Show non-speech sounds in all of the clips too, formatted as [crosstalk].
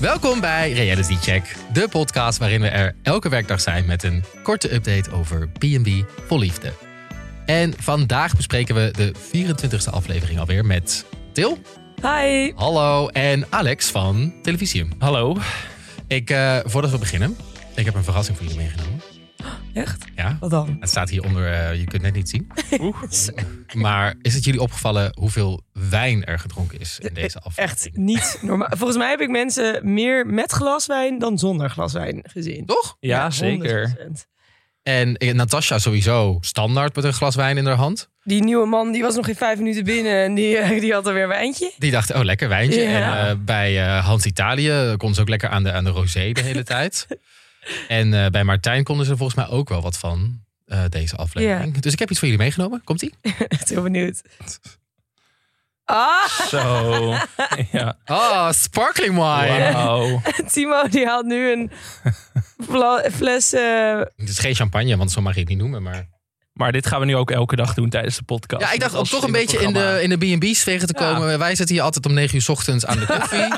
Welkom bij Reality Check, de podcast waarin we er elke werkdag zijn met een korte update over B&B vol liefde. En vandaag bespreken we de 24e aflevering alweer met Til, Hi. hallo en Alex van Televisium. Hallo. Ik, eh, voordat we beginnen, ik heb een verrassing voor jullie meegenomen. Echt? Ja, Wat dan? het staat hieronder, eh, je kunt het net niet zien. [laughs] Oeh. Maar is het jullie opgevallen hoeveel wijn er gedronken is E, in deze aflevering? E-, Echt niet normaal. [laughs] Volgens mij heb ik mensen meer met glas wijn dan zonder glas wijn gezien. Toch? Ja, zeker. 100%. En eh, Natasha sowieso standaard met een glas wijn in haar hand. Die nieuwe man die was nog geen vijf minuten binnen en die, [laughs] eh, die had alweer wijntje. Die dacht, oh, lekker wijntje. Ja. En eh, bij eh, Hans Italië kon ze ook lekker aan de, aan de rosé de [laughs] hele tijd. En eh, bij Martijn konden ze er volgens mij ook wel wat van, eh, deze aflevering. Dus ik heb iets voor jullie meegenomen. Komt-ie? Echt heel benieuwd. Ah, [laughs] Zo. [laughs] Ja. Oh, sparkling wine. Wauw. Timo die haalt nu een fla- fles. eh, Het is geen champagne, want zo mag je het niet noemen. Maar... Maar dit gaan we nu ook elke dag doen tijdens de podcast. Ja, ik dacht om Als toch een beetje in de, programma. in de B&B's tegen te Ja. komen. Wij zitten hier altijd om 9 uur 's ochtends [laughs] aan de koffie.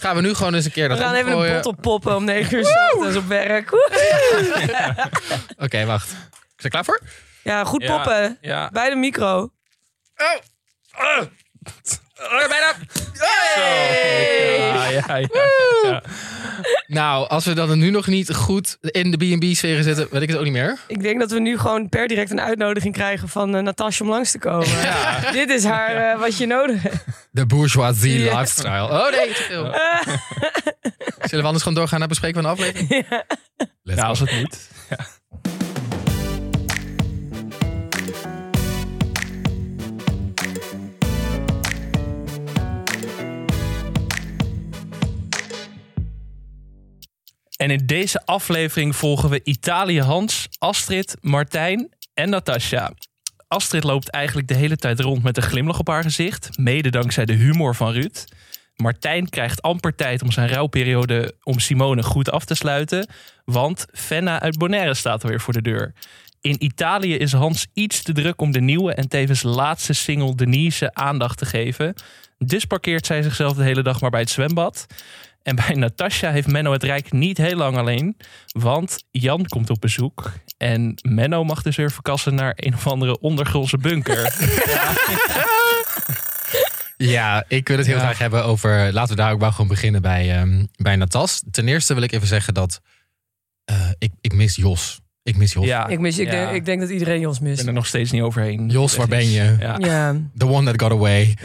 Gaan we nu gewoon eens een keer we dat gaan even een omgooien. bot op poppen om negen uur 's ochtends op werk. Woe. Oké, wacht. Is er klaar voor? Ja, goed Ja. poppen. Ja. Bij de micro. Oh! Ah. Oh, Oh, bijna. Ja, ja, ja. Ja. Nou, als we dan nu nog niet goed in de B&B-sfeer zitten, weet ik het ook niet meer. Ik denk dat we nu gewoon per direct een uitnodiging krijgen van eh, Natasja om langs te komen. [laughs] Dit is haar eh, wat je nodig hebt. De bourgeoisie Ja. lifestyle. Oh nee, te veel. [laughs] Zullen we anders gewoon doorgaan naar bespreken van de aflevering? Let's Ja, go. als het moet. [laughs] Ja. En in deze aflevering volgen we Italië Hans, Astrid, Martijn en Natasja. Astrid loopt eigenlijk de hele tijd rond met een glimlach op haar gezicht, mede dankzij de humor van Ruud. Martijn krijgt amper tijd om zijn rouwperiode om Simone goed af te sluiten, want Fenna uit Bonaire staat alweer voor de deur. In Italië is Hans iets te druk om de nieuwe en tevens laatste single Denise aandacht te geven. Dus parkeert zij zichzelf de hele dag maar bij het zwembad. En bij Natasja heeft Menno het Rijk niet heel lang alleen, want Jan komt op bezoek. En Menno mag dus weer verkassen naar een of andere ondergrondse bunker. [laughs] Ja, ik wil het heel Ja. graag hebben over. Laten we daar ook maar gewoon beginnen bij, ehm, bij Natas. Ten eerste wil ik even zeggen dat eh, ik, ik mis Jos. Ik mis Jos. ja, Ik, mis, ik, Ja. denk, ik denk dat iedereen Jos Ik mist. ben er nog steeds niet overheen. Jos, waar ben je? Ja. Ja. The one that got away.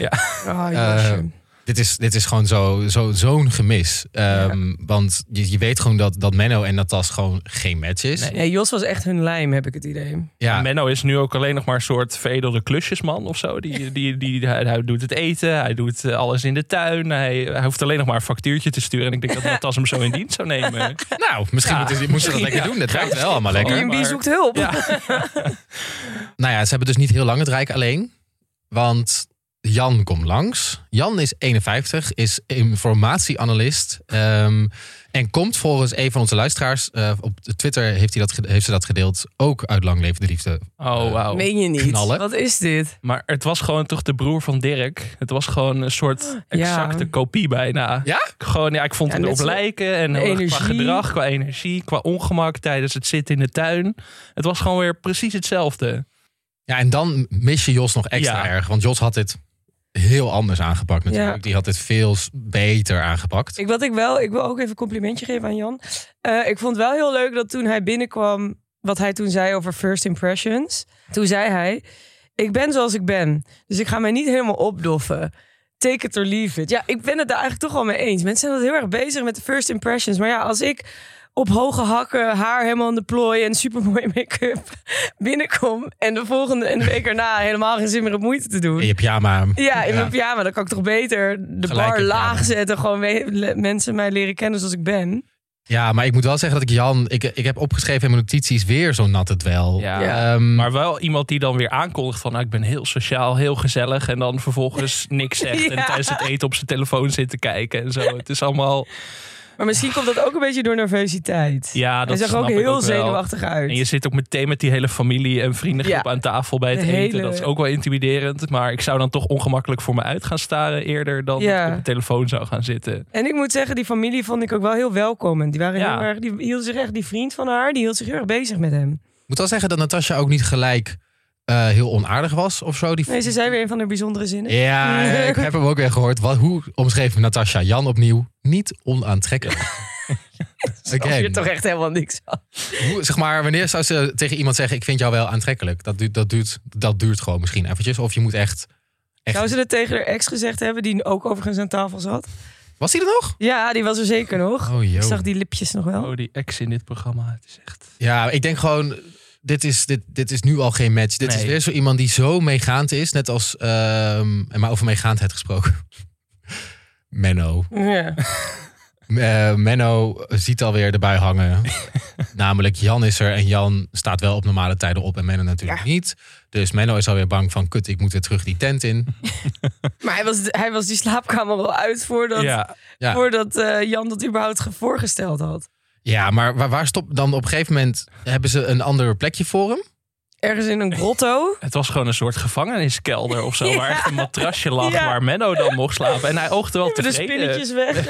Ah, Eh, Josje. Dit is, dit is gewoon zo'n zo, zo'n gemis. Ehm, Want je, je weet gewoon dat, dat Menno en Natas gewoon geen match is. Nee. nee, Jos was echt hun lijm, heb ik het idee. Ja, En Menno is nu ook alleen nog maar een soort veredelde klusjesman of zo. Die, die, die, hij, hij doet het eten, hij doet eh, alles in de tuin. Hij, hij hoeft alleen nog maar een factuurtje te sturen. En ik denk dat Natas hem zo in dienst zou nemen. nou, misschien Ja. moeten ze- moeten ze dat Ja. lekker doen. Dat ruikt wel allemaal lekker. Gewoon. B&B maar- zoekt hulp. Ja. Nou ja, ze hebben dus niet heel lang het Rijk alleen. Want Jan komt langs. Jan is 51, is informatieanalist. ehm, en komt volgens een van onze luisteraars... eh, op Twitter heeft, hij dat, ge- heeft ze dat gedeeld. Ook uit Lang Leven de Liefde. Oh, wauw. Meen je niet. Knallen. Wat is dit? Maar het was gewoon toch de broer van Dirk. Het was gewoon een soort exacte kopie bijna. Ja? Gewoon, ja, ik vond Ja, hem net erop zo- lijken. En heel erg qua energie. gedrag, qua energie, qua ongemak tijdens het zitten in de tuin. Het was gewoon weer precies hetzelfde. Ja, en dan mis je Jos nog extra Ja. erg. Want Jos had dit heel anders aangepakt natuurlijk. Ja. Die had dit veel s- beter aangepakt. Ik, wat ik, wel, ik wil ook even een complimentje geven aan Jan. Eh, ik vond wel heel leuk dat toen hij binnenkwam, wat hij toen zei over first impressions. Toen zei hij, ik ben zoals ik ben, dus ik ga mij niet helemaal opdoffen. Take it or leave it. Ja, ik ben het daar eigenlijk toch wel mee eens. Mensen zijn dat heel erg bezig met de first impressions. Maar ja, als ik op hoge hakken, haar helemaal in de plooi en supermooi make-up [laughs] binnenkom... en de volgende en de week erna helemaal geen zin meer op moeite te doen... In je pyjama. Ja, in Ja. mijn pyjama. Dan kan ik toch beter de Gelijk bar in laag pyjama. zetten. Gewoon we- le- mensen mij leren kennen zoals ik ben. Ja, maar ik moet wel zeggen dat ik Jan... Ik, ik heb opgeschreven in mijn notities weer zo'n natte dwel. Ja. Ehm, Maar wel iemand die dan weer aankondigt van... Nou, ik ben heel sociaal, heel gezellig. En dan vervolgens niks [laughs] zegt. Ja. En tijdens het eten op zijn telefoon zit te kijken en zo. Het is allemaal... Maar misschien komt dat ook een beetje door nervositeit. Ja, Hij dat zag snap ook ik heel ook wel. zenuwachtig uit. En je zit ook meteen met die hele familie en vriendengroep Ja. aan tafel bij het De eten. hele- Dat is ook wel intimiderend. Maar ik zou dan toch ongemakkelijk voor me uit gaan staren eerder dan Ja. dat ik op mijn telefoon zou gaan zitten. En ik moet zeggen, die familie vond ik ook wel heel welkom. En Die waren Ja. heel erg, die hield zich echt, die vriend van haar, die hield zich heel erg bezig met hem. Ik moet wel zeggen dat Natasja ook niet gelijk eh, heel onaardig was of zo. Die Nee, ze zei weer een van de bijzondere zinnen. Ja, ik heb hem ook weer gehoord. Wat, hoe omschreef Natasja Jan opnieuw? Niet onaantrekkelijk. Alsof je Again. toch echt helemaal niks had. Hoe, zeg maar, wanneer zou ze tegen iemand zeggen: Ik vind jou wel aantrekkelijk? Dat duurt, dat duurt, dat duurt gewoon misschien eventjes. Of je moet echt. echt... Zou ze dat tegen haar ex gezegd hebben, die ook overigens aan tafel zat? Was hij er nog? Ja, die was er zeker nog. Oh Ik joh. zag die lipjes nog wel. Oh, die ex in dit programma. Het is echt... Ja, ik denk gewoon. Dit is, dit, dit is nu al geen match. Dit is Nee. weer zo iemand die zo meegaand is. Net als. ehm, maar over meegaandheid gesproken. Menno. Oh. Ja. Eh, Menno ziet alweer erbij hangen. Namelijk Jan is er en Jan staat wel op normale tijden op en Menno natuurlijk niet. Dus Menno is alweer bang van kut, ik moet weer terug die tent in. Maar hij was, hij was die slaapkamer al uit voordat, Ja, Ja. voordat eh, Jan dat überhaupt ge- voorgesteld had. Ja, maar waar, waar stopt dan op een gegeven moment? Hebben ze een ander plekje voor hem? Ergens in een [laughs] grotto. het was gewoon een soort gevangeniskelder of zo. [laughs] Ja. Waar echt een matrasje lag Ja. waar Menno dan mocht slapen. En hij [laughs] oogde wel De tevreden. spinnetjes weg.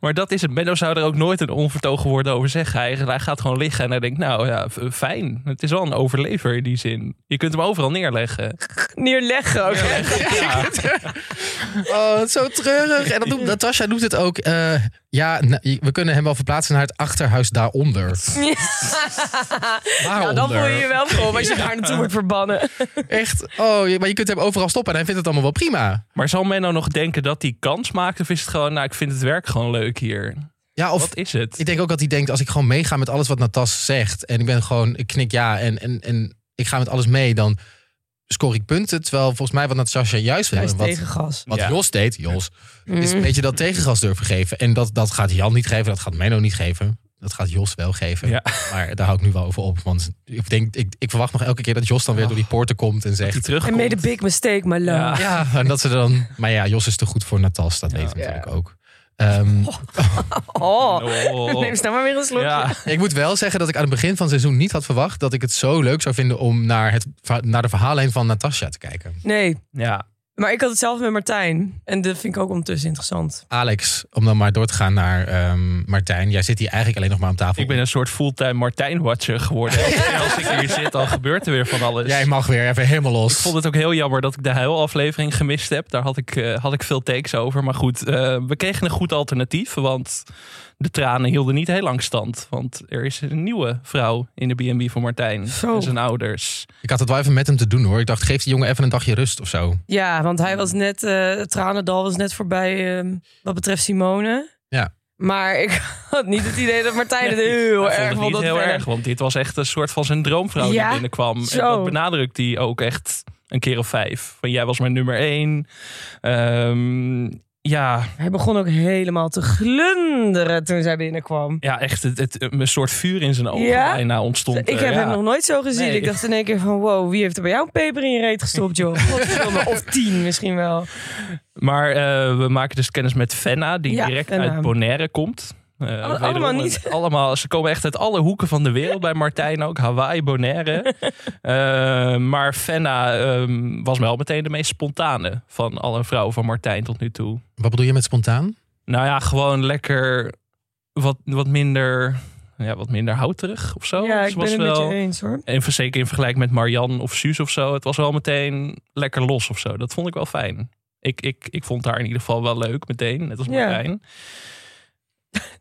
Maar dat is het. Menno zou er ook nooit een onvertogen woord over zeggen. Hij, hij gaat gewoon liggen en hij denkt, nou ja, f- fijn. Het is wel een overlever in die zin. Je kunt hem overal neerleggen. [laughs] Neerleggen ook. Ja. Oh, het is zo treurig. En dat doet, Natasja doet het ook. eh, ja, na- we kunnen hem wel verplaatsen naar het achterhuis daaronder. [laughs] Ja. Waaronder? Ja, dan voel je je wel gewoon als je daar naartoe wordt verbannen. Echt. Oh, je- maar je kunt hem overal stoppen en hij vindt het allemaal wel prima. Maar zal Menno nog denken dat hij kans maakt? Of is het gewoon, nou, ik vind het werk gewoon leuk hier? Ja, of Wat is het? Ik denk ook dat hij denkt, als ik gewoon meega met alles wat Natas zegt... en ik ben gewoon, ik knik ja en, en, en ik ga met alles mee... dan scoor ik punten. Terwijl volgens mij wat Natasja juist wil... Hij is en wat, tegengas. wat Ja. Jos deed, Jos, is een beetje dat tegengas durven geven. En dat, dat gaat Jan niet geven, dat gaat Menno niet geven. Dat gaat Jos wel geven. Ja. Maar daar hou ik nu wel over op. Want ik, denk, ik, ik verwacht nog elke keer dat Jos dan weer door die poorten komt en Die zegt... I terugkomt. made a big mistake, my love. Ja. Ja, en dat ze dan... Maar ja, Jos is te goed voor Natas, dat Ja. weten we natuurlijk Ja. ook. Ehm, [laughs] Oh, [laughs] [laughs] Oh. neem snel maar weer een slokje. Ja. Ik moet wel zeggen dat ik aan het begin van het seizoen niet had verwacht dat ik het zo leuk zou vinden om naar, het, naar de verhaallijn van Natasja te kijken. Nee, ja, maar ik had hetzelfde met Martijn. En dat vind ik ook ondertussen interessant. Alex, om dan maar door te gaan naar ehm, Martijn. Jij zit hier eigenlijk alleen nog maar aan tafel. ik ben een soort fulltime [laughs] Martijn-watcher geworden. En Als ik hier zit, dan gebeurt er weer van alles. Jij mag weer even helemaal los. Ik vond het ook heel jammer dat ik de huilaflevering gemist heb. Daar had ik, eh, had ik veel takes over. Maar goed, eh, we kregen een goed alternatief. Want de tranen hielden niet heel lang stand. Want er is een nieuwe vrouw in de B&B van Martijn. Zo. En zijn ouders. Ik had het wel even met hem te doen hoor. Ik dacht, geef die jongen even een dagje rust of zo. Ja, want hij was net, eh, het tranendal was net voorbij ehm, wat betreft Simone. Ja. Maar ik [laughs] had niet het idee dat Martijn het heel Hij erg vond het vond. niet Dat heel verder- erg, want dit was echt een soort van zijn droomvrouw Ja, die binnenkwam. zo. En dat benadrukt hij ook echt een keer of vijf. Van jij was mijn nummer één. Ehm, ja, Hij begon ook helemaal te glunderen toen zij binnenkwam. ja, echt het, het, een soort vuur in zijn ogen Ja? bijna ontstond. Ik heb Eh, hem ja. nog nooit zo gezien. Nee. Ik dacht in één keer van, wow, wie heeft er bij jou een peper in je reet gestopt, [laughs] joh? Godverdomme, of tien misschien wel. Maar eh, we maken dus kennis met Fenna, die Ja, direct Fenna. Oh, uit Bonaire komt. Eh, wederom allemaal een- niet. [laughs] Allemaal, ze komen echt uit alle hoeken van de wereld bij Martijn ook. [laughs] Hawaii, Bonaire. Eh, maar Fenna ehm, was wel meteen de meest spontane van alle vrouwen van Martijn tot nu toe. Wat bedoel je met spontaan? Nou ja, gewoon lekker wat, wat minder... Ja, wat minder houterig of zo. ja, Ze ik was ben het met wel, je eens, hoor. en voor- zeker in vergelijking met Marianne of Suus of zo. Het was wel meteen lekker los of zo. Dat vond ik wel fijn. Ik, ik, ik vond haar in ieder geval wel leuk meteen. Net als Ja. Martijn.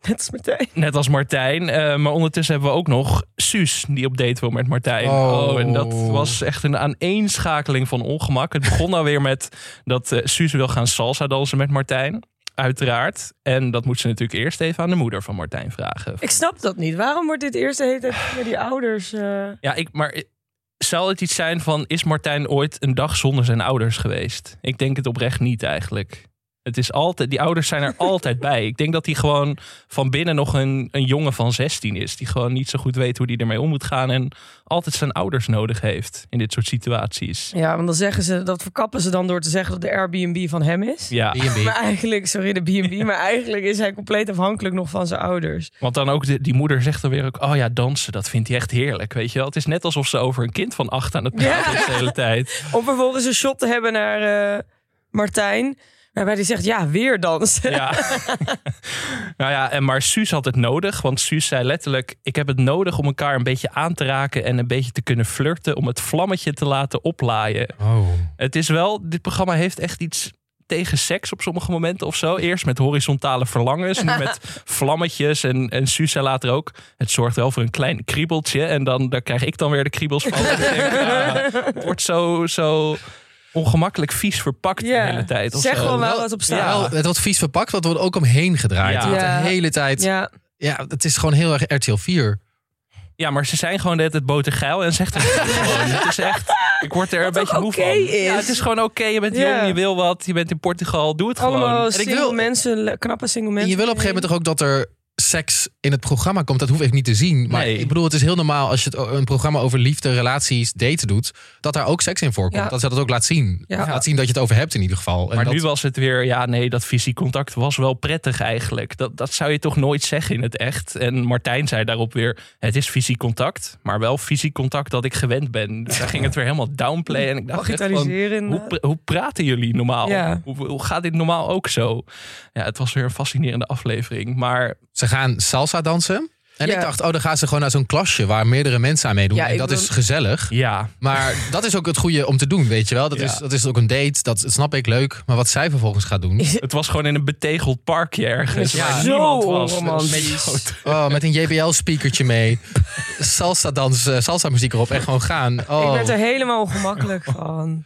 Net als Martijn. Net als Martijn. eh, maar ondertussen hebben we ook nog Suus die op date wil met Martijn. Oh. en dat was echt een aaneenschakeling van ongemak. Het begon nou weer met dat eh, Suus wil gaan salsa dansen met Martijn. Uiteraard. En dat moet ze natuurlijk eerst even aan de moeder van Martijn vragen. Ik snap dat niet. Waarom wordt dit eerst de hele tijd via die ouders... eh, Ja, ik, maar eh, zou het iets zijn van... is Martijn ooit een dag zonder zijn ouders geweest? Ik denk het oprecht niet eigenlijk. Het is altijd, die ouders zijn er altijd bij. Ik denk dat hij gewoon van binnen nog een, een jongen van 16 is. Die gewoon niet zo goed weet hoe hij ermee om moet gaan. En altijd zijn ouders nodig heeft in dit soort situaties. Ja, want dan zeggen ze, dat verkappen ze dan door te zeggen dat de Airbnb van hem is. [laughs] Ja, B&B. Maar eigenlijk, sorry, de B&B, [laughs] maar eigenlijk is hij compleet afhankelijk nog van zijn ouders. want dan ook de- die moeder zegt dan weer ook... Oh ja, dansen, dat vindt hij echt heerlijk, weet je wel. Het is net alsof ze over een kind van acht aan het praten Ja. is de hele tijd. Om vervolgens een shot te hebben naar eh, Martijn, waarbij hij zegt, ja, weer dansen. Ja. [laughs] nou ja, en maar Suus had het nodig. Want Suus zei letterlijk: Ik heb het nodig om elkaar een beetje aan te raken. en een beetje te kunnen flirten. om het vlammetje te laten oplaaien. Oh. Het is wel, dit programma heeft echt iets tegen seks op sommige momenten of zo. Eerst met horizontale verlangens, nu [laughs] met vlammetjes. En, en Suus zei later ook: Het zorgt wel voor een klein kriebeltje. En dan, daar krijg ik dan weer de kriebels van. En ik denk, [laughs] ah, het wordt zo. zo ongemakkelijk vies verpakt Ja. de hele tijd. of Zeg zo. gewoon wel wat op Wel, staat. het wordt vies verpakt, want er wordt ook omheen gedraaid. Ja. Want Ja. De hele tijd. Ja. Ja. het is gewoon heel erg RTL 4. Ja, maar ze zijn gewoon de hele tijd botergeil en zegt het gewoon. [laughs] Het is echt, ik word er een Wat ook beetje moe oké van. is. Ja, het is gewoon oké, je bent Ja. jong, je wil wat, je bent in Portugal, doe het gewoon. Allemaal En ik single wil- mensen, le- knappe single En mensen. je wil op een gegeven moment toch ook dat er seks in het programma komt. Dat hoef ik niet te zien. Maar Nee. ik bedoel, het is heel normaal als je het, een programma over liefde, relaties, daten doet. Dat daar ook seks in voorkomt. Ja. Dat ze dat ook laat zien. Ja. Laat zien dat je het over hebt in ieder geval. En Maar dat- nu was het weer, ja nee, dat fysiek contact was wel prettig eigenlijk. Dat, dat zou je toch nooit zeggen in het echt. En Martijn zei daarop weer, het is fysiek contact, maar wel fysiek contact dat ik gewend ben. Dus daar ging het weer helemaal downplay. En ik dacht echt van, Digitaliseren. Hoe, pra- hoe praten jullie normaal? Ja. Hoe, hoe gaat dit normaal ook zo? Ja, het was weer een fascinerende aflevering. Maar Ze gaan salsa dansen. En Ja. ik dacht, oh, dan gaan ze gewoon naar zo'n klasje waar meerdere mensen aan meedoen. Ja, en ik dat wil- is gezellig. ja, Maar dat is ook het goede om te doen, weet je wel. Dat, Ja. is, dat is ook een date, dat snap ik leuk. Maar wat zij vervolgens gaat doen... Het was gewoon in een betegeld parkje ergens. Ja. waar Zo niemand was. Dat was onromantisch. een groot. Oh, met een JBL-speakertje mee. Salsa dans, eh, salsa muziek erop en gewoon gaan. Ik Oh. werd er helemaal ongemakkelijk van.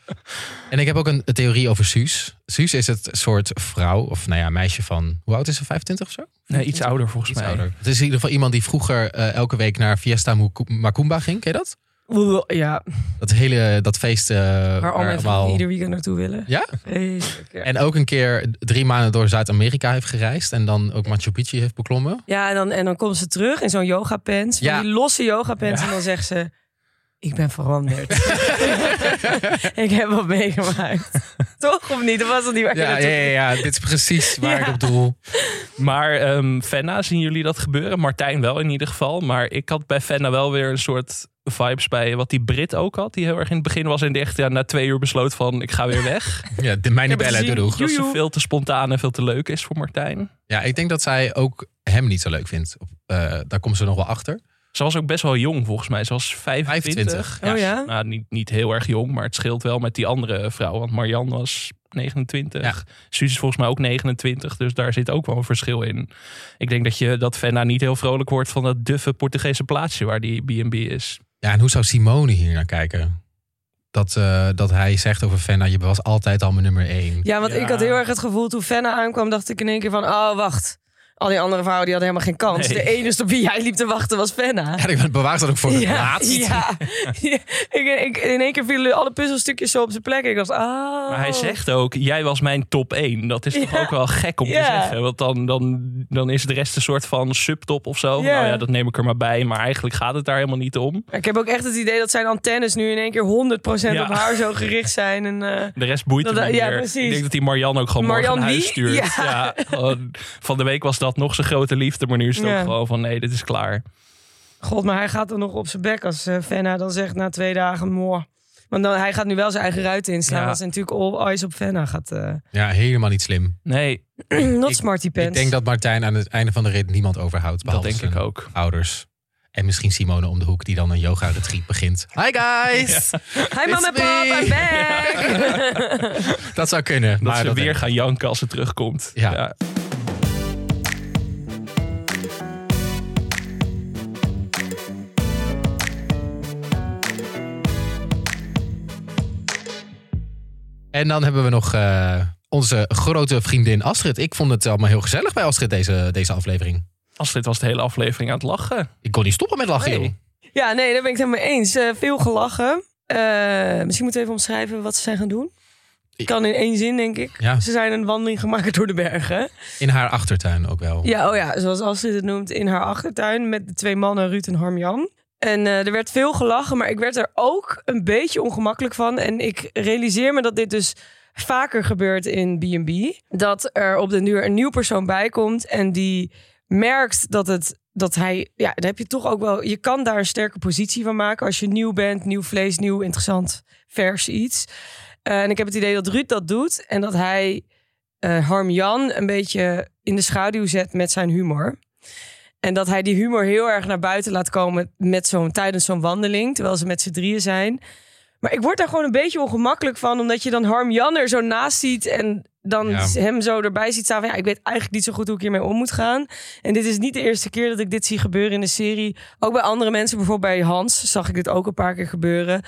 En ik heb ook een theorie over Suus. Suus is het soort vrouw, of nou ja, meisje van... Hoe oud is ze? 25 of zo? Nee, iets ouder volgens Iets mij. ouder. Het is in ieder geval iemand die vroeger eh, elke week naar Fiesta Mucu- Macumba ging. Ken je dat? Ja, Dat hele, dat feest. eh, waar waar al mijn vrienden allemaal- ieder weekend naartoe willen. Ja? Vreselijk, ja. En ook een keer drie maanden door Zuid-Amerika heeft gereisd. En dan ook Machu Picchu heeft beklommen. Ja, en dan, en dan komt ze terug in zo'n yoga pants. Ja. Die losse yoga pants. Ja. En dan zegt ze... Ik ben [laughs] veranderd. [laughs] ik heb wat meegemaakt. [laughs] Toch of niet? Of was dat niet waar je Ja, ja, naartoe- ja, ja, dit is [laughs] precies waar Ja. ik op doel. Maar ehm, Fenna, zien jullie dat gebeuren? Martijn wel in ieder geval. Maar ik had bij Fenna wel weer een soort vibes bij wat die Brit ook had. Die heel erg in het begin was en die echt ja, na twee uur besloot van ik ga weer weg. Ja, de, mij niet heb het bellen, doe gezien. doeg. Dat ze Joejoe. veel te spontaan en veel te leuk is voor Martijn. Ja, ik denk dat zij ook hem niet zo leuk vindt. Op, eh, daar komt ze nog wel achter. Ze was ook best wel jong volgens mij. Ze was 25. 25. Oh ja? Nou, niet, niet heel erg jong, maar het scheelt wel met die andere vrouw. Want Marianne was 29. Ja. Suus is volgens mij ook 29. Dus daar zit ook wel een verschil in. Ik denk dat je dat Fenna niet heel vrolijk wordt van dat duffe Portugese plaatsje waar die B&B is. Ja, en hoe zou Simone hier naar kijken? Dat, eh, dat hij zegt over Fenna, je was altijd al mijn nummer één. Ja, want Ja. ik had heel erg het gevoel toen Fenna aankwam, dacht ik in één keer van, oh wacht, al die andere vrouwen die hadden helemaal geen kans. Nee. De enige op wie jij liep te wachten was Fenna. En ik ben- bewaar dat ook voor het ja, laatst. ja. Ja. Ik, ik, in één keer vielen alle puzzelstukjes zo op zijn plek. Ik dacht, ah. Maar hij zegt ook, jij was mijn top 1. Dat is toch Ja. ook wel gek om Ja. te zeggen. Want dan, dan, dan is de rest een soort van subtop of zo. Ja. Nou ja, dat neem ik er maar bij. Maar eigenlijk gaat het daar helemaal niet om. Ik heb ook echt het idee dat zijn antennes nu in één keer 100% Ja. op haar zo gericht zijn. En, eh, De rest boeit Dat- hem niet ja, meer. precies. Ik denk dat die Marianne ook gewoon Marianne morgen naar huis wie? stuurt. Ja. Ja. gewoon, van de week was dat nog zijn grote liefde, maar nu is het Ja. ook gewoon van nee, dit is klaar. god, maar hij gaat dan nog op zijn bek als eh, Fenna dan zegt na twee dagen, moor. Want dan, hij gaat nu wel zijn eigen ruiten inslaan. Ja. Als hij natuurlijk all eyes op Fenna gaat. eh [clears throat] Ja, helemaal niet slim. Nee, not ik- smarty pants. Ik denk dat Martijn aan het einde van de rit niemand overhoudt. dat behalve denk zijn ik ook. ouders. En misschien Simone om de hoek die dan een yoga retreat begint. Hi guys! Hi mama, It's pap, me. I'm back. Dat zou kunnen. Dat maar ze weer denk ik. gaan janken als ze terugkomt. Ja. En dan hebben we nog eh, onze grote vriendin Astrid. Ik vond het allemaal heel gezellig bij Astrid deze, deze aflevering. Als dit was de hele aflevering aan het lachen. Ik kon niet stoppen met lachen, Nee. joh. Ja, nee, daar ben ik het helemaal mee eens. Eh, veel gelachen. Eh, misschien moeten we even omschrijven wat ze zijn gaan doen. Kan in één zin, denk ik. Ja, Ze zijn een wandeling gemaakt door de bergen. in haar achtertuin ook wel. Ja, oh ja, zoals Astrid het noemt, in haar achtertuin met de twee mannen Ruud en Harm-Jan. En eh, er werd veel gelachen, maar ik werd er ook een beetje ongemakkelijk van. En ik realiseer me dat dit dus vaker gebeurt in B&B. Dat er op den duur een nieuw persoon bij komt en die merkt dat het... Dat hij, ja, dan heb je toch ook wel. Je kan daar een sterke positie van maken als je nieuw bent, nieuw vlees, nieuw interessant, vers iets. Eh, en ik heb het idee dat Ruud dat doet en dat hij eh, Harm Jan een beetje in de schaduw zet met zijn humor. En dat hij die humor heel erg naar buiten laat komen met zo'n, tijdens zo'n wandeling, terwijl ze met z'n drieën zijn. Maar ik word daar gewoon een beetje ongemakkelijk van, omdat je dan Harm Jan er zo naast ziet en dan Ja. hem zo erbij ziet staan. Van, ja, ik weet eigenlijk niet zo goed hoe ik hiermee om moet gaan. En dit is niet de eerste keer dat ik dit zie gebeuren in de serie. Ook bij andere mensen, bijvoorbeeld bij Hans, zag ik dit ook een paar keer gebeuren.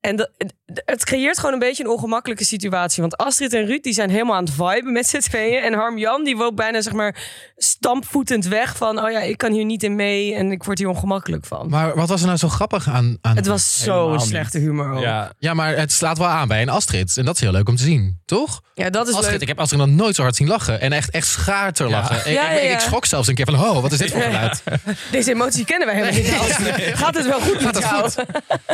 En dat, het creëert gewoon een beetje een ongemakkelijke situatie. Want Astrid en Ruud die zijn helemaal aan het viben met z'n tweeën. En Harm Jan die loopt bijna zeg maar stampvoetend weg van... oh ja, ik kan hier niet in mee en ik word hier ongemakkelijk van. Maar wat was er nou zo grappig aan? aan... het was zo'n helemaal slechte humor ook. Ja, Ja, Ja, maar het slaat wel aan bij een Astrid. En dat is heel leuk om te zien, toch? dat is Astrid, leuk. ik heb Astrid nog nooit zo hard zien lachen. En echt, echt schaarter Ja. lachen. Ik- Ja, ik, ja, ja. ik schrok zelfs een keer van, oh, wat is dit voor Ja. geluid? [laughs] Deze emotie kennen wij helemaal niet. Astrid. [laughs] Gaat het wel goed met het jou? Maar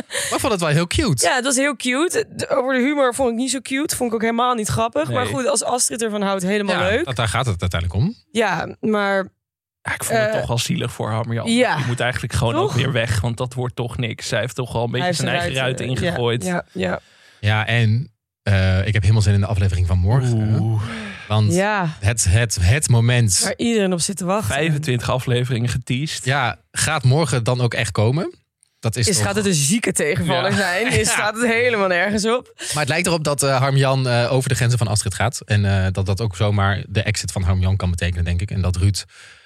ik vond het wel heel cute. Ja, het was heel cute. De- Over de humor vond ik niet zo cute. Vond ik ook helemaal niet grappig. Nee. Maar goed, als Astrid ervan houdt, helemaal Ja, leuk. dat- daar gaat het uiteindelijk om. Ja, maar Ja, ik vond het Eh, toch wel zielig voor Harmjan. ja. Die moet eigenlijk gewoon Toch? ook weer weg, want dat wordt toch niks. Zij heeft toch al hij een beetje heeft eh, zijn eigen ruit ja, ingegooid. Ja, ja, Ja, en eh, ik heb helemaal zin in de aflevering van morgen. Oeh, Want ja. het, het, het moment Waar iedereen op zit te wachten. 25 afleveringen geteased. ja, gaat morgen dan ook echt komen. Dat is Is, toch- gaat het een zieke tegenvaller Ja. [laughs] zijn? Is, Staat het helemaal nergens op? Maar het lijkt erop dat eh Harm-Jan eh, over de grenzen van Astrid gaat. En eh, dat dat ook zomaar de exit van Harm-Jan kan betekenen, denk ik. En dat Ruud...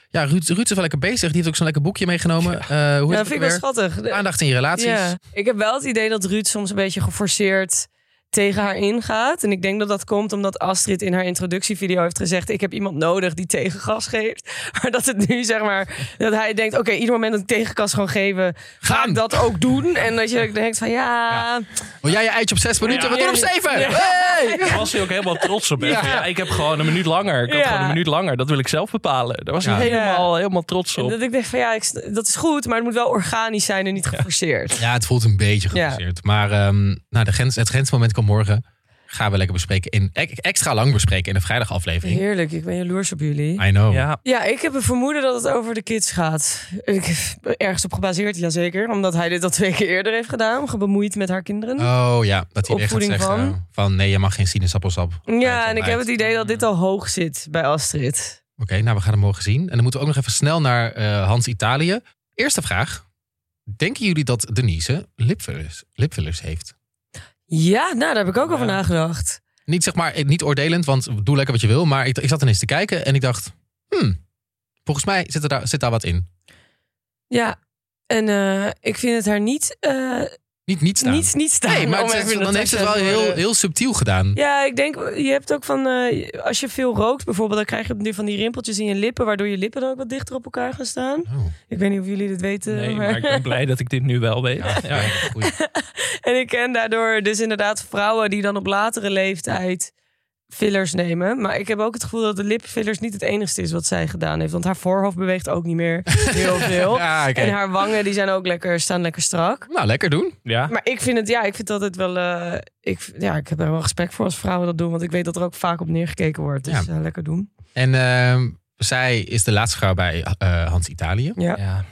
Ja, Ruud, Ruud is wel lekker bezig. Die heeft ook zo'n lekker boekje meegenomen. Eh, hoe Ja, heet dat het vind ik ook wel weer? schattig. De- Aandacht in je relaties. ja. Ik heb wel het idee dat Ruud soms een beetje geforceerd tegen haar ingaat. En ik denk dat dat komt omdat Astrid in haar introductievideo heeft gezegd... ik heb iemand nodig die tegengas geeft. [laughs] Maar dat het nu, zeg maar, dat hij denkt... oké, ieder moment dat ik tegengas gewoon geven, ga Gaan. ik dat ook doen. En dat je denkt van, ja... Wil jij je eitje op zes minuten? Ja. We doen op zeven! Ja. Hey! Daar was hij ook helemaal trots op. hè? Ja. Van, Ja. ik heb gewoon een minuut langer. Ik had Ja. gewoon een minuut langer. Dat wil ik zelf bepalen. Daar was hij Ja. helemaal, helemaal trots op. Dat ik denk van, ja, ik- dat is goed, maar het moet wel organisch zijn en niet geforceerd. Ja, het voelt een beetje geforceerd. Maar ehm, nou, de grens, het grensmoment kan morgen. Gaan we lekker bespreken. In, e- extra lang bespreken in de vrijdagaflevering. Heerlijk, ik ben jaloers op jullie. I know. Ja, Ja, ik heb een vermoeden dat het over de kids gaat. Ik heb ergens op gebaseerd, jazeker. Omdat hij dit al twee keer eerder heeft gedaan. Gebemoeid met haar kinderen. Oh ja, dat hij weer gaat Hm? Opvoeding zeggen van... van? nee, je mag geen sinaasappelsap. ja, en ik heb ontbijt. het idee dat dit al hoog zit bij Astrid. Oké, nou we gaan hem morgen zien. En dan moeten we ook nog even snel naar eh, Hans Italië. Eerste vraag. Denken jullie dat Denise lipfillers, lipfillers heeft? Ja, nou, daar heb ik ook over Ja. nagedacht. Niet zeg maar, eh, niet oordelend, want doe lekker wat je wil. Maar ik, ik zat ineens te kijken en ik dacht... Hmm, volgens mij zit, er daar, zit daar wat in. Ja, en eh, ik vind het haar niet, eh, Niet, niet staan. niet, niet staan. Nee, maar om het is- even dan dat heeft ze het te wel zeggen. heel, heel subtiel gedaan. Ja, ik denk, je hebt ook van, eh, als je veel rookt bijvoorbeeld, dan krijg je nu van die rimpeltjes in je lippen, waardoor je lippen dan ook wat dichter op elkaar gaan staan. Oh, Ik weet niet of jullie dit weten. nee, maar- maar ik ben blij dat ik dit nu wel weet. ja, Ja. ja, goeie. En ik ken daardoor dus inderdaad vrouwen die dan op latere leeftijd fillers nemen. Maar ik heb ook het gevoel dat de lipfillers niet het enigste is wat zij gedaan heeft. Want haar voorhoofd beweegt ook niet [laughs] meer heel veel. Ja, oké. En haar wangen die zijn ook lekker, staan lekker strak. Nou, lekker doen. Ja. Maar ik vind het, ja, ik vind dat het wel. eh, ik, ja, ik heb er wel respect voor als vrouwen dat doen. Want ik weet dat er ook vaak op neergekeken wordt. Dus eh, lekker doen. En ehm, zij is de laatste vrouw bij eh, Hans Italië. Ja, Ja.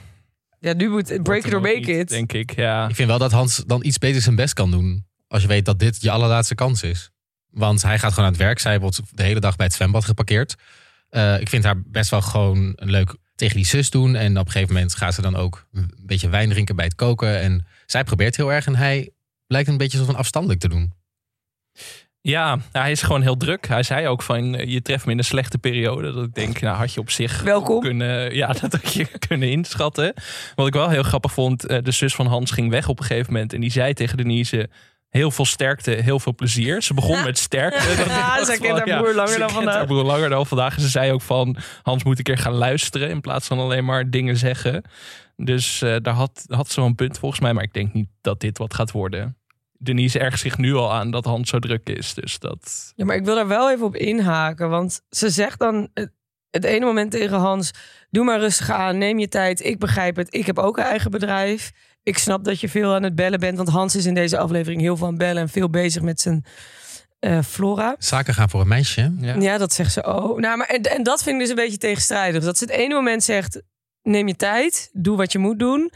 ja nu moet break it or Wat dan ook make niet, it. Denk ik, ja. Ik vind wel dat Hans dan iets beter zijn best kan doen. Als je weet dat dit je allerlaatste kans is. Want hij gaat gewoon aan het werk. Zij wordt de hele dag bij het zwembad geparkeerd. Eh, ik vind haar best wel gewoon leuk tegen die zus doen. En op een gegeven moment gaat ze dan ook een beetje wijn drinken bij het koken. En zij probeert heel erg en hij lijkt een beetje zo van afstandelijk te doen. Ja, nou, hij is gewoon heel druk. Hij zei ook van, eh, je treft me in een slechte periode. Dat ik denk, nou had je op zich Welkom. kunnen, ja, [laughs] dat had je kunnen inschatten. Wat ik wel heel grappig vond, eh, de zus van Hans ging weg op een gegeven moment. En die zei tegen Denise, heel veel sterkte, heel veel plezier. Ze begon met [laughs] sterkte. Dat Ja, ik dacht zij van, Ah, kent haar broer langer ze dan kent vandaag. haar broer langer dan vandaag. En ze zei ook van, Hans moet een keer gaan luisteren. In plaats van alleen maar dingen zeggen. Dus eh, daar had, had ze wel een punt volgens mij. Maar ik denk niet dat dit wat gaat worden. Denise ergt zich nu al aan dat Hans zo druk is. Dus dat... Ja, maar ik wil daar wel even op inhaken. Want ze zegt dan het, het ene moment tegen Hans... Doe maar rustig aan, neem je tijd. Ik begrijp het. Ik heb ook een eigen bedrijf. Ik snap dat je veel aan het bellen bent. Want Hans is in deze aflevering heel van bellen... en veel bezig met zijn eh, flora. Zaken gaan voor een meisje. hè? Ja. Ja. dat zegt ze. Oh, nou, maar en, en dat vind ik dus een beetje tegenstrijdig. Dat ze het ene moment zegt: neem je tijd, doe wat je moet doen.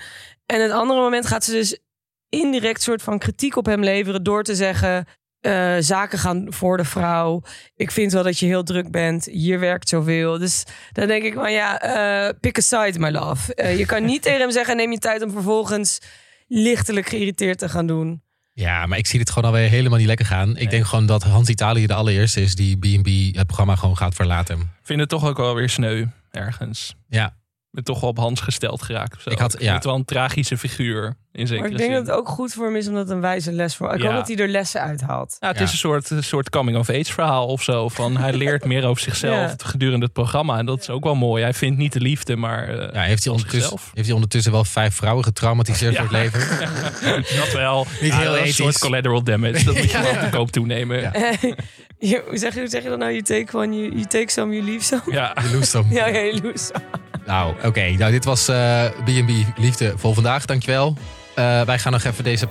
En het andere moment gaat ze dus indirect soort van kritiek op hem leveren door te zeggen: eh, zaken gaan voor de vrouw. Ik vind wel dat je heel druk bent. Hier werkt zoveel. Dus dan denk ik: van ja, eh, pick a side, my love. Eh, je kan [laughs] niet tegen hem zeggen: neem je tijd om vervolgens lichtelijk geïrriteerd te gaan doen. Ja, maar ik zie dit gewoon alweer helemaal niet lekker gaan. Ik denk gewoon dat Hans Italië de allereerste is die B&B het programma gewoon gaat verlaten. Ik vind het toch ook wel weer sneu ergens. Ja. Ik ben toch wel op Hans gesteld geraakt. of zo. Ik had- vind ja. het wel een tragische figuur in zekere Maar ik denk zin. dat het ook goed voor hem is omdat het een wijze les voor. Ik Ja. hoop dat hij er lessen uit haalt. Ja, het Ja. is een soort, een soort coming-of-age verhaal of zo. Van hij [laughs] leert meer over zichzelf Ja. gedurende het programma. En dat is ook wel mooi. Hij vindt niet de liefde, maar eh, Ja, nou, heeft hij, ondertussen, zichzelf. heeft hij ondertussen wel vijf vrouwen getraumatiseerd Ja. voor het leven? [laughs] dat wel. Niet Ja, heel dat is Een soort ethisch. collateral damage. Dat moet je wel te koop toenemen. Ja. Ja. Je- hoe, zeg je, hoe zeg je dat nou? You take one, you, you take some, you leave some. [laughs] Je loest hem. Ja, ja, je lose some. Nou, oké. Nou, dit was eh, B&B Liefde voor vandaag. Dankjewel. Eh, wij gaan nog even deze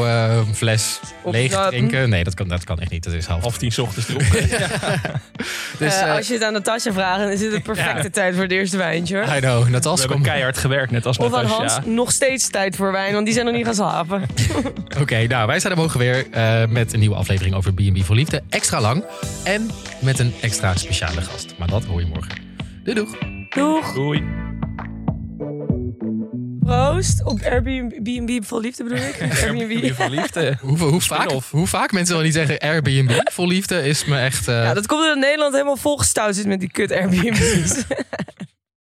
Prosecco-fles leeg Opsnappen. drinken. Nee, dat kan, dat kan echt niet. Dat is half. Half tien 's ochtends dronken. Dus, Eh, eh, als je het aan Natasja vraagt, dan is dit de perfecte tijd voor het eerste wijntje. hoor. I know. We Natas, hebben kom. keihard gewerkt, net als Of aan Natasja. Hans, nog steeds tijd voor wijn, want die zijn nog niet gaan slapen. Oké, nou, wij zijn er morgen weer eh, met een nieuwe aflevering over B&B voor Liefde. Extra lang. En met een extra speciale gast. Maar dat hoor je morgen. Doei doeg. Doeg, Doei. proost op Airbnb vol liefde bedoel ik. Airbnb. Van liefde. Hoe, hoe, vaak, Spin-off. hoe vaak mensen wel niet zeggen Airbnb vol liefde is me echt... eh, Ja, dat komt omdat Nederland helemaal volgestouwd zit met die kut Airbnb's.